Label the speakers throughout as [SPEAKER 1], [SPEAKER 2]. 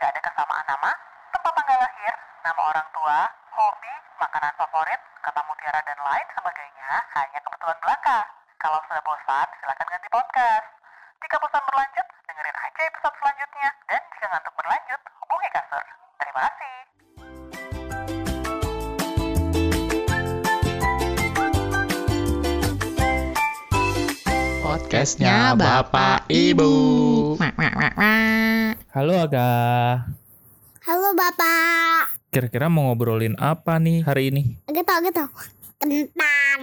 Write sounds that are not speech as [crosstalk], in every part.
[SPEAKER 1] ada kesamaan nama, tempat tanggal lahir, nama orang tua, hobi, makanan favorit, kata mutiara dan lain sebagainya hanya kebetulan belaka. Kalau sudah bosan, silakan ganti podcast. Jika bosan berlanjut, dengerin aja episode selanjutnya. Dan jika ngantuk berlanjut, hubungi kasur. Terima kasih.
[SPEAKER 2] Podcastnya Bapak Ibu.
[SPEAKER 3] Halo Aga,
[SPEAKER 4] Halo Bapak.
[SPEAKER 3] kira-kira mau ngobrolin apa nih hari ini?
[SPEAKER 4] Gitu gitu. Kentang.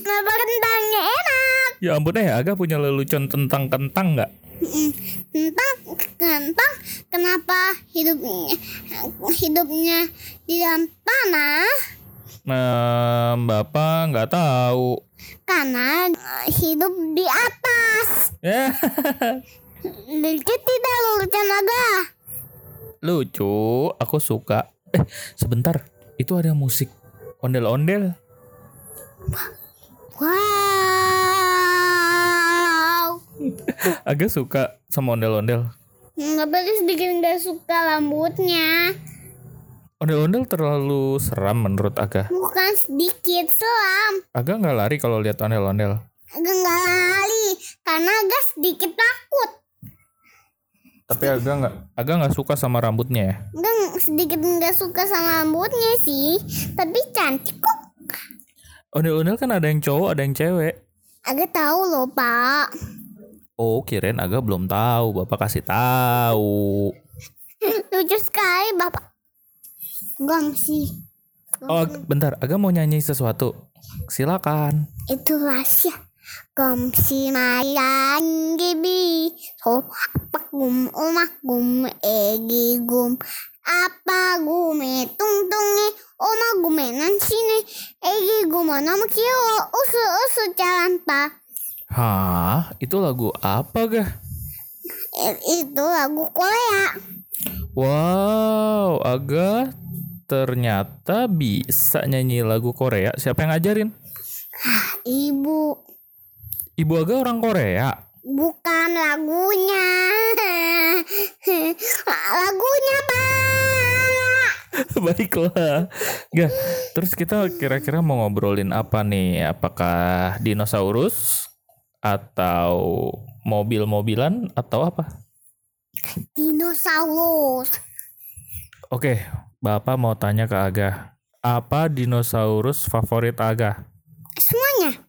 [SPEAKER 4] Kenapa kentangnya enak?
[SPEAKER 3] Ya ampun eh Aga punya lelucon tentang kentang nggak?
[SPEAKER 4] Mm-mm. Kentang, kentang. Kenapa hidupnya hidupnya di dalam tanah?
[SPEAKER 3] Nah, Bapak nggak tahu.
[SPEAKER 4] Karena eh, hidup di atas.
[SPEAKER 3] Eh,
[SPEAKER 4] Lucu tidak lucu naga.
[SPEAKER 3] lucu, aku suka. Eh, sebentar, itu ada musik ondel-ondel.
[SPEAKER 4] Wow.
[SPEAKER 3] Aga suka sama ondel-ondel.
[SPEAKER 4] Nggak berarti sedikit nggak suka rambutnya.
[SPEAKER 3] Ondel-ondel terlalu seram menurut Aga.
[SPEAKER 4] Bukan sedikit selam.
[SPEAKER 3] Aga nggak lari kalau lihat ondel-ondel.
[SPEAKER 4] Agak nggak lari karena agak sedikit takut.
[SPEAKER 3] Tapi Aga nggak, Aga nggak suka sama rambutnya ya.
[SPEAKER 4] Enggak sedikit nggak suka sama rambutnya sih, tapi cantik kok.
[SPEAKER 3] Ondel-ondel kan ada yang cowok, ada yang cewek.
[SPEAKER 4] Agak tahu loh pak. [laughs]
[SPEAKER 3] Oh, kirain Aga belum tahu. Bapak kasih tahu.
[SPEAKER 4] Lucu sekali bapak. Gong sih. Gong.
[SPEAKER 3] Oh, bentar. Aga mau nyanyi sesuatu. Silakan.
[SPEAKER 4] Itu rahasia. Gom si mayan gibi. So apa gum omak gum egi gum. Apa gume tung tungi oma gume nan sini egi gumo nom kio usu usu jalan pak.
[SPEAKER 3] Hah? Itu lagu apa, Gah?
[SPEAKER 4] I- Eh, Itu lagu Korea.
[SPEAKER 3] Wow, Aga ternyata bisa nyanyi lagu Korea. Siapa yang ngajarin?
[SPEAKER 4] Ibu
[SPEAKER 3] Ibu Aga orang Korea. [laughs]
[SPEAKER 4] Bukan lagunya. [laughs] lagunya, Pak.
[SPEAKER 3] Baiklah. Gah, terus kita kira-kira mau ngobrolin apa nih? Apakah dinosaurus atau mobil-mobilan atau apa?
[SPEAKER 4] Dinosaurus.
[SPEAKER 3] Oke, Bapak mau tanya ke Aga. Apa dinosaurus favorit Aga?
[SPEAKER 4] Semuanya.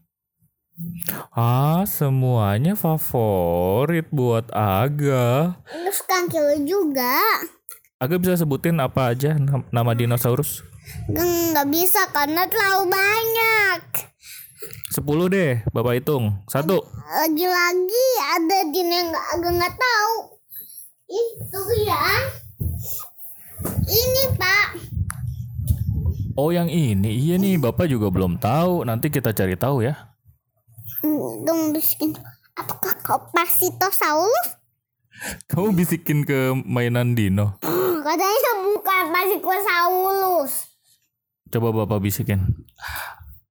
[SPEAKER 3] Ah, semuanya favorit buat Aga.
[SPEAKER 4] Terus kangkil juga.
[SPEAKER 3] Aga bisa sebutin apa aja nam- nama dinosaurus?
[SPEAKER 4] Nggak bisa karena terlalu banyak.
[SPEAKER 3] 10 deh, Bapak hitung. Satu.
[SPEAKER 4] Lagi-lagi ada dino yang nggak agak nggak tahu. Itu ya. Ini, Pak.
[SPEAKER 3] Oh, yang ini. Iya nih, Bapak juga belum tahu. Nanti kita cari tahu ya.
[SPEAKER 4] Dong miskin. Apakah kau Pasitosaurus?
[SPEAKER 3] Kamu bisikin ke mainan dino.
[SPEAKER 4] Katanya bukan Pasitosaurus.
[SPEAKER 3] Coba Bapak bisikin.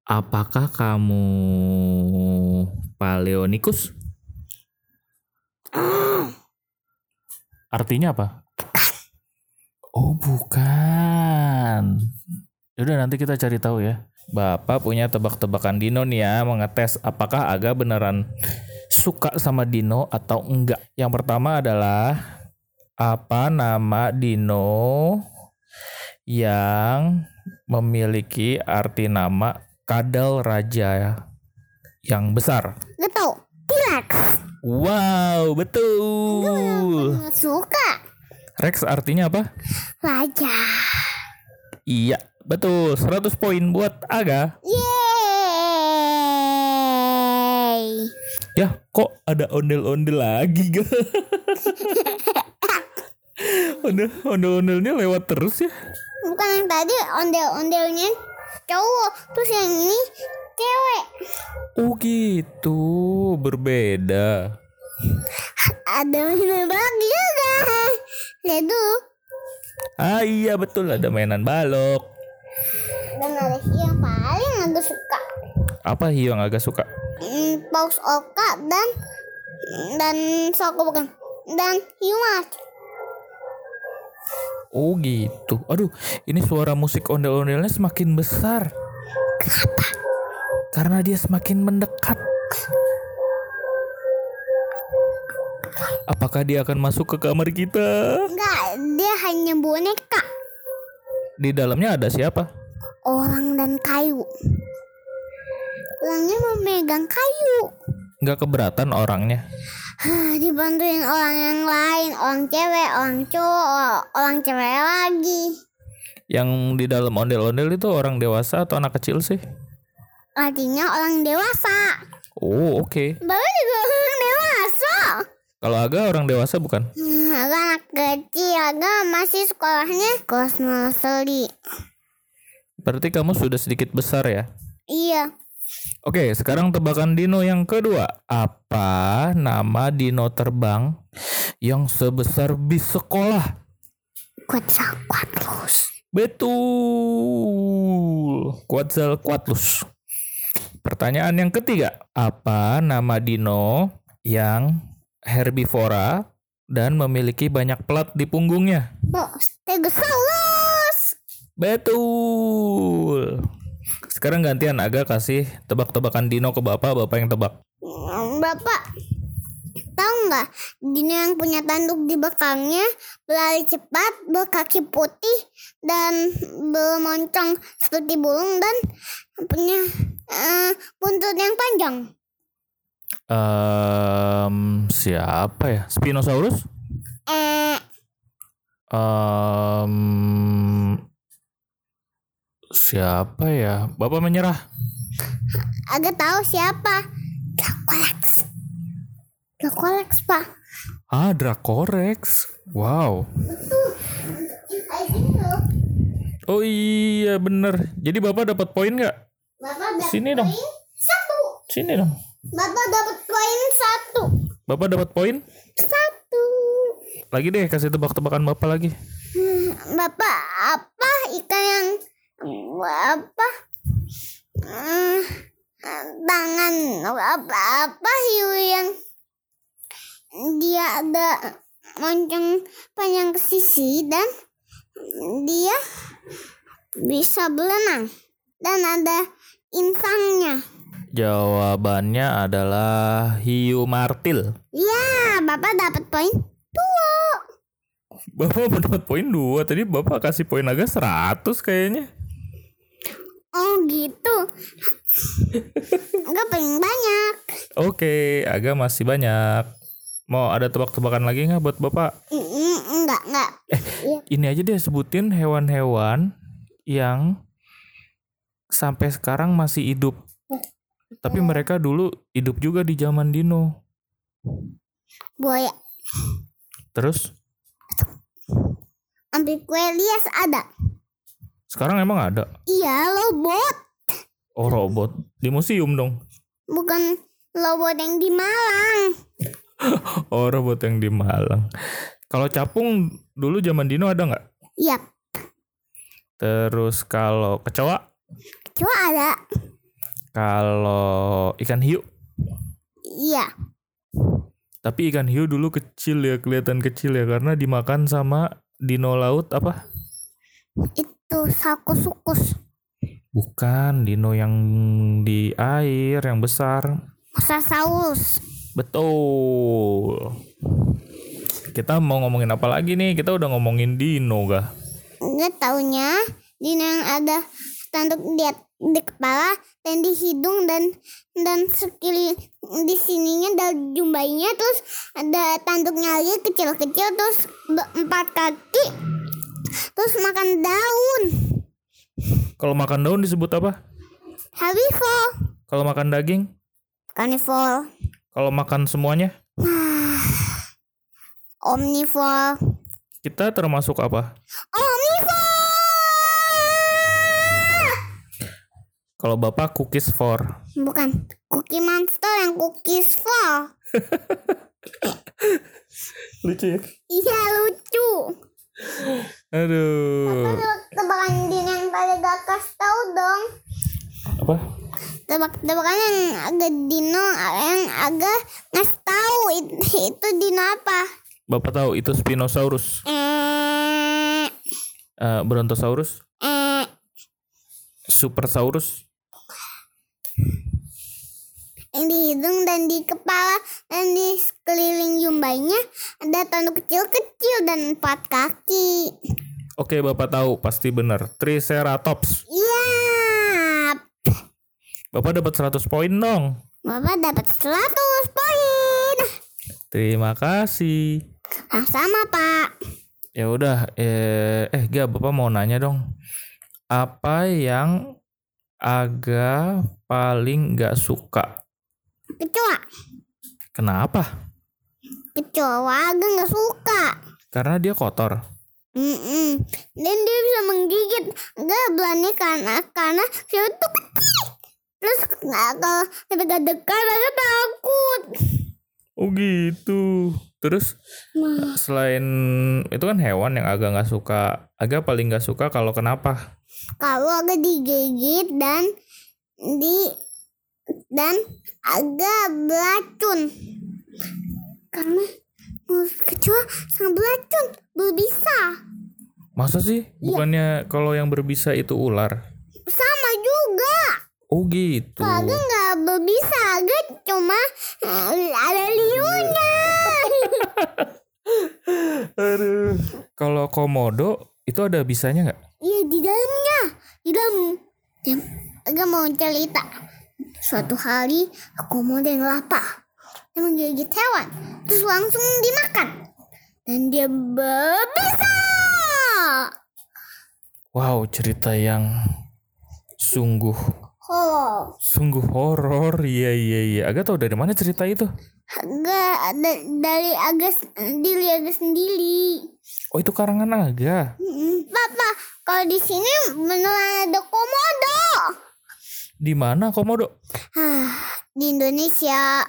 [SPEAKER 3] Apakah kamu Paleonikus? Artinya apa? Oh, bukan. Yaudah nanti kita cari tahu ya. Bapak punya tebak-tebakan Dino nih ya, mengetes apakah Aga beneran suka sama Dino atau enggak. Yang pertama adalah apa nama Dino yang memiliki arti nama kadal raja yang besar.
[SPEAKER 4] Betul. T-Rex.
[SPEAKER 3] Wow, betul.
[SPEAKER 4] Nggak Suka.
[SPEAKER 3] Rex artinya apa?
[SPEAKER 4] Raja.
[SPEAKER 3] Iya, betul. 100 poin buat Aga.
[SPEAKER 4] Yeay.
[SPEAKER 3] Ya, kok ada ondel-ondel lagi, Ga? [laughs] Ondel- Ondel-ondelnya lewat terus ya.
[SPEAKER 4] Bukan yang tadi ondel-ondelnya cowok. Terus yang ini cewek.
[SPEAKER 3] Oh gitu, berbeda.
[SPEAKER 4] Ada mainan balok juga. ya kan? Lihat dulu.
[SPEAKER 3] Ah iya betul, ada mainan balok.
[SPEAKER 4] Dan ada sih yang paling aku suka.
[SPEAKER 3] Apa hiu yang agak suka?
[SPEAKER 4] Hmm, Paus Oka dan dan Soko bukan. Dan Hiumat.
[SPEAKER 3] Oh gitu. Aduh, ini suara musik ondel-ondelnya semakin besar.
[SPEAKER 4] Kenapa?
[SPEAKER 3] Karena dia semakin mendekat. Apakah dia akan masuk ke kamar kita?
[SPEAKER 4] Enggak, dia hanya boneka.
[SPEAKER 3] Di dalamnya ada siapa?
[SPEAKER 4] Orang dan kayu. Orangnya memegang kayu.
[SPEAKER 3] Nggak keberatan orangnya.
[SPEAKER 4] Hah, Dibantuin orang yang lain, orang cewek, orang cowok, orang cewek lagi.
[SPEAKER 3] Yang di dalam ondel-ondel itu orang dewasa atau anak kecil sih?
[SPEAKER 4] Artinya orang dewasa.
[SPEAKER 3] Oh, oke.
[SPEAKER 4] Baru juga orang dewasa.
[SPEAKER 3] Kalau agak orang dewasa bukan?
[SPEAKER 4] Hmm, Agak anak kecil, agak masih sekolahnya kelas nursery.
[SPEAKER 3] Berarti kamu sudah sedikit besar ya?
[SPEAKER 4] Iya,
[SPEAKER 3] Oke, sekarang tebakan dino yang kedua. Apa nama dino terbang yang sebesar bis sekolah?
[SPEAKER 4] Quetzalcoatlus.
[SPEAKER 3] Betul. Quetzalcoatlus. Pertanyaan yang ketiga, apa nama dino yang herbivora dan memiliki banyak pelat di punggungnya?
[SPEAKER 4] Oh, Stegosaurus.
[SPEAKER 3] Betul. Sekarang gantian Aga kasih tebak-tebakan dino ke Bapak, Bapak yang tebak.
[SPEAKER 4] Hmm, Bapak, tahu nggak? Dino yang punya tanduk di belakangnya berlari cepat, berkaki putih dan bermoncong seperti burung dan punya eh, buntut yang panjang.
[SPEAKER 3] Em, siapa ya? Spinosaurus?
[SPEAKER 4] Eh,
[SPEAKER 3] Em, siapa ya? Bapak menyerah.
[SPEAKER 4] agak tahu siapa? Dracolex. Dracolex pak.
[SPEAKER 3] Ah, Dracorex. Wow. Oh iya bener. Jadi bapak dapat poin nggak?
[SPEAKER 4] Bapak dapat
[SPEAKER 3] Sini dong.
[SPEAKER 4] poin satu.
[SPEAKER 3] Sini dong.
[SPEAKER 4] Bapak dapat poin satu.
[SPEAKER 3] Bapak dapat poin?
[SPEAKER 4] Satu.
[SPEAKER 3] Lagi deh kasih tebak-tebakan bapak lagi.
[SPEAKER 4] Bapak Hmm, apa ikan yang apa Hmm, tangan apa apa hiu yang dia ada moncong panjang ke sisi dan dia bisa berenang dan ada insangnya.
[SPEAKER 3] Jawabannya adalah hiu martil.
[SPEAKER 4] Ya, Bapak dapat poin dua.
[SPEAKER 3] Bapak [laughs] mendapat poin dua. Tadi bapak kasih poin agak 100 kayaknya.
[SPEAKER 4] Oh gitu. Enggak paling banyak.
[SPEAKER 3] Oke, agak masih banyak. Mau ada tebak-tebakan lagi nggak buat bapak?
[SPEAKER 4] Mm, mm, Enggak, enggak.
[SPEAKER 3] ini aja deh sebutin hewan-hewan yang sampai sekarang masih hidup. Tapi mereka dulu hidup juga di zaman dino.
[SPEAKER 4] Buaya
[SPEAKER 3] Terus
[SPEAKER 4] Ambiquelias ada.
[SPEAKER 3] sekarang emang ada
[SPEAKER 4] Iya, lobot.
[SPEAKER 3] oh robot di museum dong.
[SPEAKER 4] Bukan lobot yang di Malang.
[SPEAKER 3] Oh robot yang di Malang. Kalau capung dulu zaman dino ada nggak?
[SPEAKER 4] Iya,
[SPEAKER 3] Terus kalau kecoa,
[SPEAKER 4] coba ada.
[SPEAKER 3] kalau ikan hiu.
[SPEAKER 4] Iya,
[SPEAKER 3] Tapi ikan hiu dulu kecil ya kelihatan kecil ya karena dimakan sama dino laut apa?
[SPEAKER 4] itu sakusukus.
[SPEAKER 3] Bukan dino yang di air yang besar.
[SPEAKER 4] Mosasaurus.
[SPEAKER 3] Betul. Kita mau ngomongin apa lagi nih? Kita udah ngomongin dino gak?
[SPEAKER 4] Enggak taunya dino yang ada tanduk di, di kepala dan di hidung dan dan sekili di sininya dan jumbainya terus ada tanduknya lagi kecil-kecil terus be- empat kaki terus makan daun
[SPEAKER 3] Kalau makan daun disebut apa?
[SPEAKER 4] herbivore
[SPEAKER 3] Kalau makan daging?
[SPEAKER 4] carnivore
[SPEAKER 3] Kalau makan semuanya?
[SPEAKER 4] Ah. omnivore
[SPEAKER 3] Kita termasuk apa?
[SPEAKER 4] omnivore
[SPEAKER 3] Kalau bapak cookies for.
[SPEAKER 4] bukan cookie monster yang cookies for
[SPEAKER 3] Lucu ya?
[SPEAKER 4] iya lucu
[SPEAKER 3] Aduh.
[SPEAKER 4] tebakan Din yang tadi gak kasih tahu dong
[SPEAKER 3] Apa?
[SPEAKER 4] tebak-tebakan yang agak dino yang agak ngasih tahu itu, itu dino apa
[SPEAKER 3] Bapak tahu itu Spinosaurus.
[SPEAKER 4] eh
[SPEAKER 3] Eh, Brontosaurus,
[SPEAKER 4] eh
[SPEAKER 3] Supersaurus,
[SPEAKER 4] yang di hidung dan di kepala dan di sekeliling jumbainya ada tanduk kecil-kecil dan empat kaki.
[SPEAKER 3] Oke, Bapak tahu, pasti benar. Triceratops.
[SPEAKER 4] Iya,
[SPEAKER 3] Bapak dapat 100 poin dong.
[SPEAKER 4] Bapak dapat 100 poin.
[SPEAKER 3] Terima kasih.
[SPEAKER 4] Nah, sama Pak.
[SPEAKER 3] Ya udah, eh eh gak Bapak mau nanya dong. Apa yang Aga paling gak suka?
[SPEAKER 4] Kecoa,
[SPEAKER 3] Kenapa?
[SPEAKER 4] kecoa agak nggak suka.
[SPEAKER 3] Karena dia kotor.
[SPEAKER 4] Mm-mm. Dan dia bisa menggigit gablannya karena karena dia itu kecil. Terus nggak kalau dekat-dekat agak takut.
[SPEAKER 3] Oh gitu. Terus
[SPEAKER 4] Nah,
[SPEAKER 3] selain itu kan hewan yang Aga nggak suka. Aga paling nggak suka kalau kenapa?
[SPEAKER 4] kalau agak digigit dan di dan agak beracun karena mulut kecoa sangat beracun berbisa
[SPEAKER 3] Masa sih? Bukannya kalau yang berbisa itu ular?
[SPEAKER 4] sama juga
[SPEAKER 3] Oh gitu.
[SPEAKER 4] agak nggak berbisa agak cuma eh, ada liunya
[SPEAKER 3] Aduh. Kalau komodo itu ada bisanya nggak?
[SPEAKER 4] iya di dalamnya di dalam Diam. agak mau cerita suatu hari aku mau yang lapar dia menggigit hewan terus langsung dimakan dan dia berbisa
[SPEAKER 3] Wow, cerita yang sungguh
[SPEAKER 4] oh
[SPEAKER 3] sungguh horor. Iya iya iya. Aga tahu dari mana cerita itu?
[SPEAKER 4] agak da- dari agak sendiri agak sendiri
[SPEAKER 3] Oh itu karangan Aga.
[SPEAKER 4] papa kalau di sini beneran ada komodo
[SPEAKER 3] Di mana komodo?
[SPEAKER 4] Ah, di Indonesia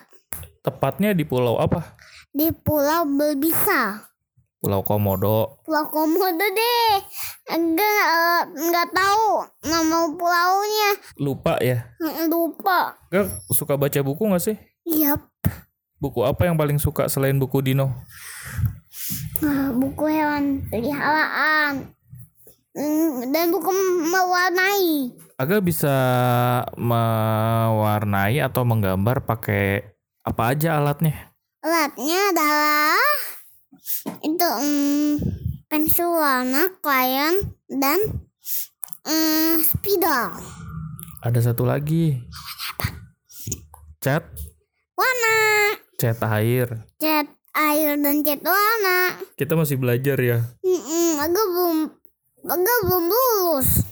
[SPEAKER 3] Tepatnya di pulau apa?
[SPEAKER 4] di pulau berbisa
[SPEAKER 3] Pulau Komodo.
[SPEAKER 4] Pulau Komodo deh. Enggak eh, enggak tahu nama pulaunya.
[SPEAKER 3] Lupa ya.
[SPEAKER 4] Eh, Lupa.
[SPEAKER 3] Aga suka baca buku nggak sih?
[SPEAKER 4] Iya,
[SPEAKER 3] Buku apa yang paling suka selain buku Dino?
[SPEAKER 4] eh, buku hewan peliharaan. Hmm, Dan buku mewarnai.
[SPEAKER 3] Aga bisa mewarnai atau menggambar pakai apa aja alatnya?
[SPEAKER 4] Alatnya adalah itu hmm, pensil warna, krayon dan hmm, spidol.
[SPEAKER 3] Ada satu lagi. Cat,
[SPEAKER 4] Warna,
[SPEAKER 3] cat air.
[SPEAKER 4] cat air dan cat warna.
[SPEAKER 3] Kita masih belajar ya.
[SPEAKER 4] Hmm, agak belum agak belum lulus.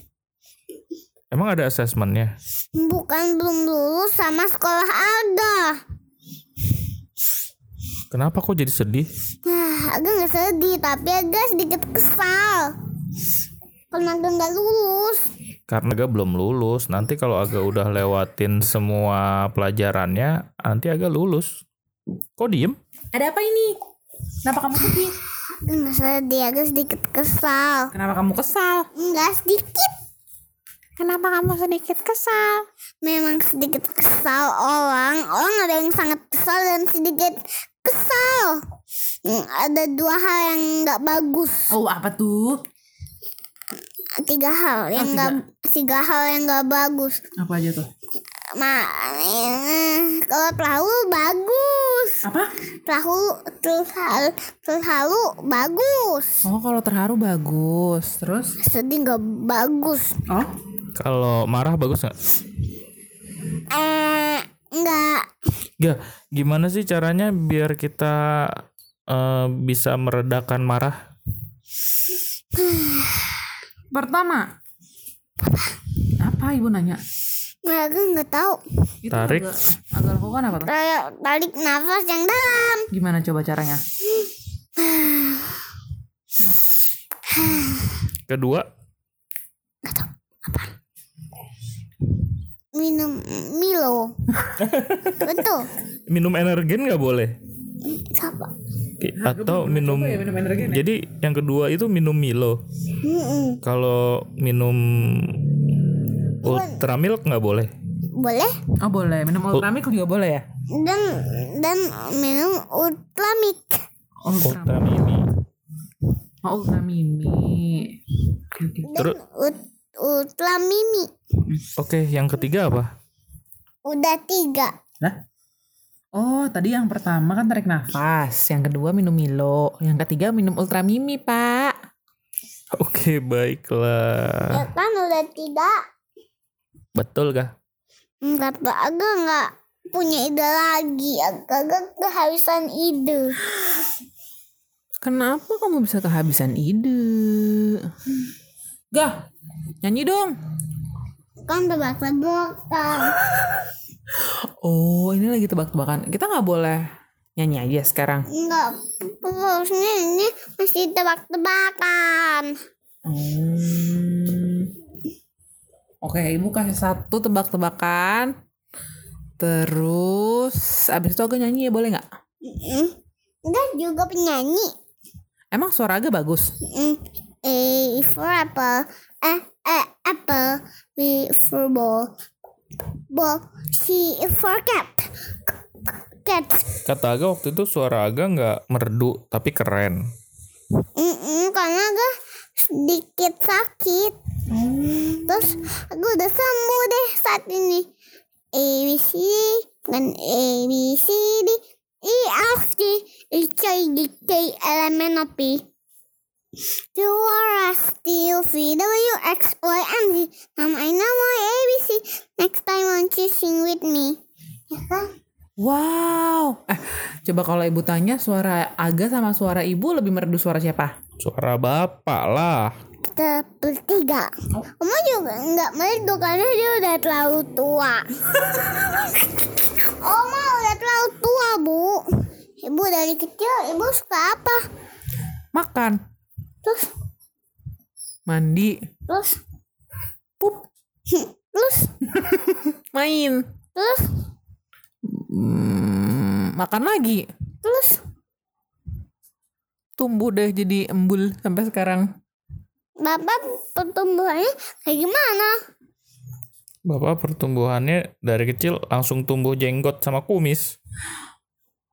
[SPEAKER 3] Emang ada asesmennya?
[SPEAKER 4] Bukan belum lulus sama sekolah Aga.
[SPEAKER 3] Kenapa kok jadi sedih?
[SPEAKER 4] Nah, Aga nggak sedih, tapi Aga sedikit kesal. Karena Aga nggak lulus.
[SPEAKER 3] Karena Aga belum lulus. Nanti kalau Aga udah lewatin semua pelajarannya, nanti Aga lulus. Kok diem?
[SPEAKER 5] Ada apa ini? Kenapa kamu sedih?
[SPEAKER 4] Aga nggak sedih, Aga sedikit kesal.
[SPEAKER 5] Kenapa kamu kesal?
[SPEAKER 4] Nggak sedikit,
[SPEAKER 5] Kenapa kamu sedikit kesal?
[SPEAKER 4] memang sedikit kesal orang. Orang ada yang sangat kesal dan sedikit kesal. Hmm, Ada dua hal yang nggak bagus.
[SPEAKER 5] Oh, apa tuh?
[SPEAKER 4] Tiga hal
[SPEAKER 5] Ah,
[SPEAKER 4] yang nggak tiga hal yang nggak bagus.
[SPEAKER 5] Apa aja tuh?
[SPEAKER 4] Ma, eh, kalau perahu bagus.
[SPEAKER 5] Apa?
[SPEAKER 4] Perahu terhalu, terhalu bagus.
[SPEAKER 5] Oh, kalau terharu bagus. Terus?
[SPEAKER 4] Sedih nggak bagus.
[SPEAKER 5] Oh,
[SPEAKER 3] Kalau marah bagus nggak?
[SPEAKER 4] Eh, nggak.
[SPEAKER 3] Ya, gimana sih caranya biar kita eh, bisa meredakan marah?
[SPEAKER 5] pertama. Apa ibu nanya?
[SPEAKER 4] Mereka nggak tahu.
[SPEAKER 5] Itu
[SPEAKER 3] Tarik.
[SPEAKER 5] Agak, agak lakukan apa tuh?
[SPEAKER 4] Kayak tarik nafas yang dalam.
[SPEAKER 5] Gimana coba caranya?
[SPEAKER 3] Kedua,
[SPEAKER 4] Minum Milo. Betul.
[SPEAKER 3] minum energen nggak boleh?
[SPEAKER 4] Siapa?
[SPEAKER 3] Ki- Atau minum... Jadi yang kedua itu minum Milo.
[SPEAKER 4] Mm-mm.
[SPEAKER 3] Kalau minum Ultramilk nggak boleh.
[SPEAKER 4] Boleh.
[SPEAKER 5] Oh, boleh. Minum ultramik juga boleh ya?
[SPEAKER 4] Dan dan minum Ultramix.
[SPEAKER 5] Ultramik.
[SPEAKER 3] Ultramini.
[SPEAKER 5] Oh, ultramimi. oke.
[SPEAKER 3] Terus
[SPEAKER 4] Ut utla mimi
[SPEAKER 3] oke, yang ketiga apa?
[SPEAKER 4] udah tiga.
[SPEAKER 5] Oh, tadi yang pertama kan tarik nafas, yang kedua minum Milo, yang ketiga minum Ultra Mimi, Pak.
[SPEAKER 3] Oke, baiklah.
[SPEAKER 4] Ya kan udah tiga.
[SPEAKER 3] Betul kah?
[SPEAKER 4] Enggak Pak, agak enggak punya ide lagi. Agak kehabisan ide.
[SPEAKER 5] Kenapa kamu bisa kehabisan ide? Gah, nyanyi dong.
[SPEAKER 4] Kan tebak-tebakan.
[SPEAKER 5] Oh, ini lagi tebak-tebakan. Kita nggak boleh nyanyi aja sekarang.
[SPEAKER 4] Enggak. Harusnya ini masih tebak-tebakan.
[SPEAKER 5] Hmm. Oke, ibu kasih satu tebak-tebakan. Terus abis itu agak nyanyi ya boleh nggak?
[SPEAKER 4] Mm-mm. Enggak juga penyanyi.
[SPEAKER 5] Emang suara agak bagus.
[SPEAKER 4] Mm. A for Eh, apple, A, A, apple, B for ball, ball, C for cat, cat.
[SPEAKER 3] Kata Aga waktu itu suara Aga nggak merdu tapi keren.
[SPEAKER 4] Mm-mm, karena gue sedikit sakit. Terus aku udah sembuh deh saat ini. A B C bukan A B C D E F G H I J K L M N O P Q R S T U V W X Y and Z. Now I know my A B C. Next time won't you sing with me? Ya kan?
[SPEAKER 5] Wow. Eh, coba kalau ibu tanya suara Aga sama suara ibu lebih merdu suara siapa?
[SPEAKER 3] Suara bapak lah.
[SPEAKER 4] Kita bertiga. Oma juga nggak merdu karena dia udah terlalu tua. Oma udah terlalu tua, Bu. Ibu dari kecil, ibu suka apa?
[SPEAKER 5] Makan,
[SPEAKER 4] Terus,
[SPEAKER 5] mandi,
[SPEAKER 4] terus,
[SPEAKER 5] pup,
[SPEAKER 4] terus,
[SPEAKER 5] main,
[SPEAKER 4] terus,
[SPEAKER 5] Hmm, makan lagi.
[SPEAKER 4] terus.
[SPEAKER 5] Tumbuh deh jadi embul sampai sekarang.
[SPEAKER 4] Bapak pertumbuhannya kayak gimana?
[SPEAKER 3] Bapak pertumbuhannya dari kecil langsung tumbuh jenggot sama kumis.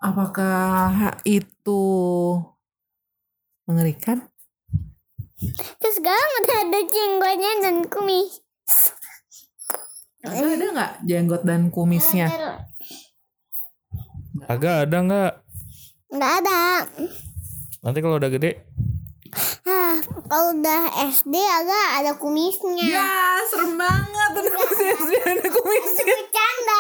[SPEAKER 5] Apakah itu mengerikan?
[SPEAKER 4] Terus sekarang udah ada jenggotnya dan kumis.
[SPEAKER 5] Ada ada nggak jenggot dan kumisnya?
[SPEAKER 3] Aga ada nggak?
[SPEAKER 4] Nggak ada.
[SPEAKER 3] Nanti kalau udah gede,
[SPEAKER 4] Hah, Ah, kalau udah SD agak ada kumisnya.
[SPEAKER 5] Ya serem banget ada kumisnya, ada kumisnya.
[SPEAKER 4] bercanda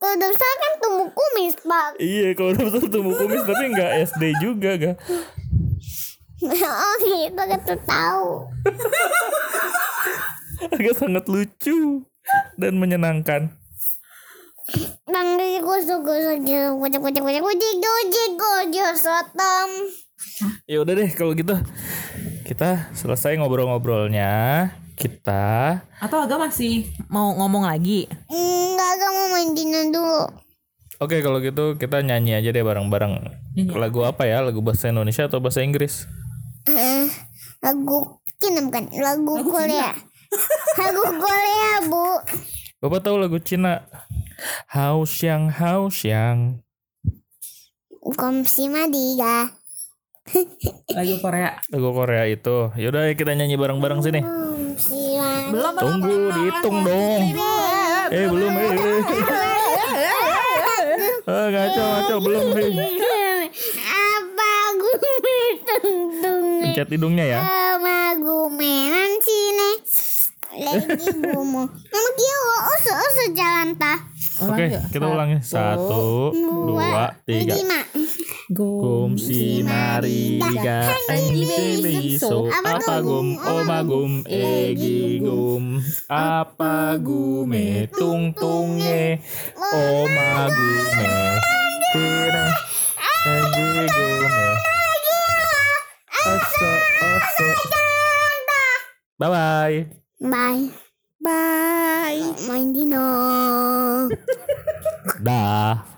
[SPEAKER 4] kalau udah besar kan tumbuh kumis pak
[SPEAKER 3] iya kalau udah besar tumbuh kumis tapi nggak SD juga ga.
[SPEAKER 4] oh gitu gitu tahu
[SPEAKER 3] Aga sangat lucu dan menyenangkan.
[SPEAKER 4] manggil gosok gosok gosok gosok gosok gosok gosok gosok gosok sotom
[SPEAKER 3] Ya udah deh kalau gitu kita selesai ngobrol-ngobrolnya. Kita
[SPEAKER 5] Atau agak masih mau ngomong lagi?
[SPEAKER 4] enggak kamu main dino dulu
[SPEAKER 3] Oke kalau gitu kita nyanyi aja deh bareng-bareng.
[SPEAKER 5] Nyanyi.
[SPEAKER 3] Lagu apa ya? Lagu bahasa Indonesia atau bahasa Inggris?
[SPEAKER 4] Eh, lagu Cina bukan lagu Korea lagu Korea bu
[SPEAKER 3] Bapak tahu lagu Cina? Hao Xiang Hao Xiang.
[SPEAKER 4] komsi madiga
[SPEAKER 5] Lagu Korea.
[SPEAKER 3] Lagu Korea itu. Yaudah ya kita nyanyi bareng-bareng sini.
[SPEAKER 4] komsi madiga
[SPEAKER 5] Belum belum.
[SPEAKER 3] Tunggu dihitung dong. Eh belum eh. [laughs] eh. Ah, ngaco ngaco belum. eh.
[SPEAKER 4] apa gue tung
[SPEAKER 3] Pencet hidungnya ya.
[SPEAKER 4] Sama gumenan sini Lagi gumo Nama dia oso oso jalan ta
[SPEAKER 3] Oke
[SPEAKER 5] Ulang yuk.
[SPEAKER 3] kita ulangi satu dua tiga.
[SPEAKER 4] Lima
[SPEAKER 3] Gum si mari diga enji bebi so apa gum oma gum egi gum apa gume tung eh. tunge oma gume kira enji gume oso oso bye bye
[SPEAKER 4] Bye
[SPEAKER 5] Bye.
[SPEAKER 4] Main dino
[SPEAKER 3] dah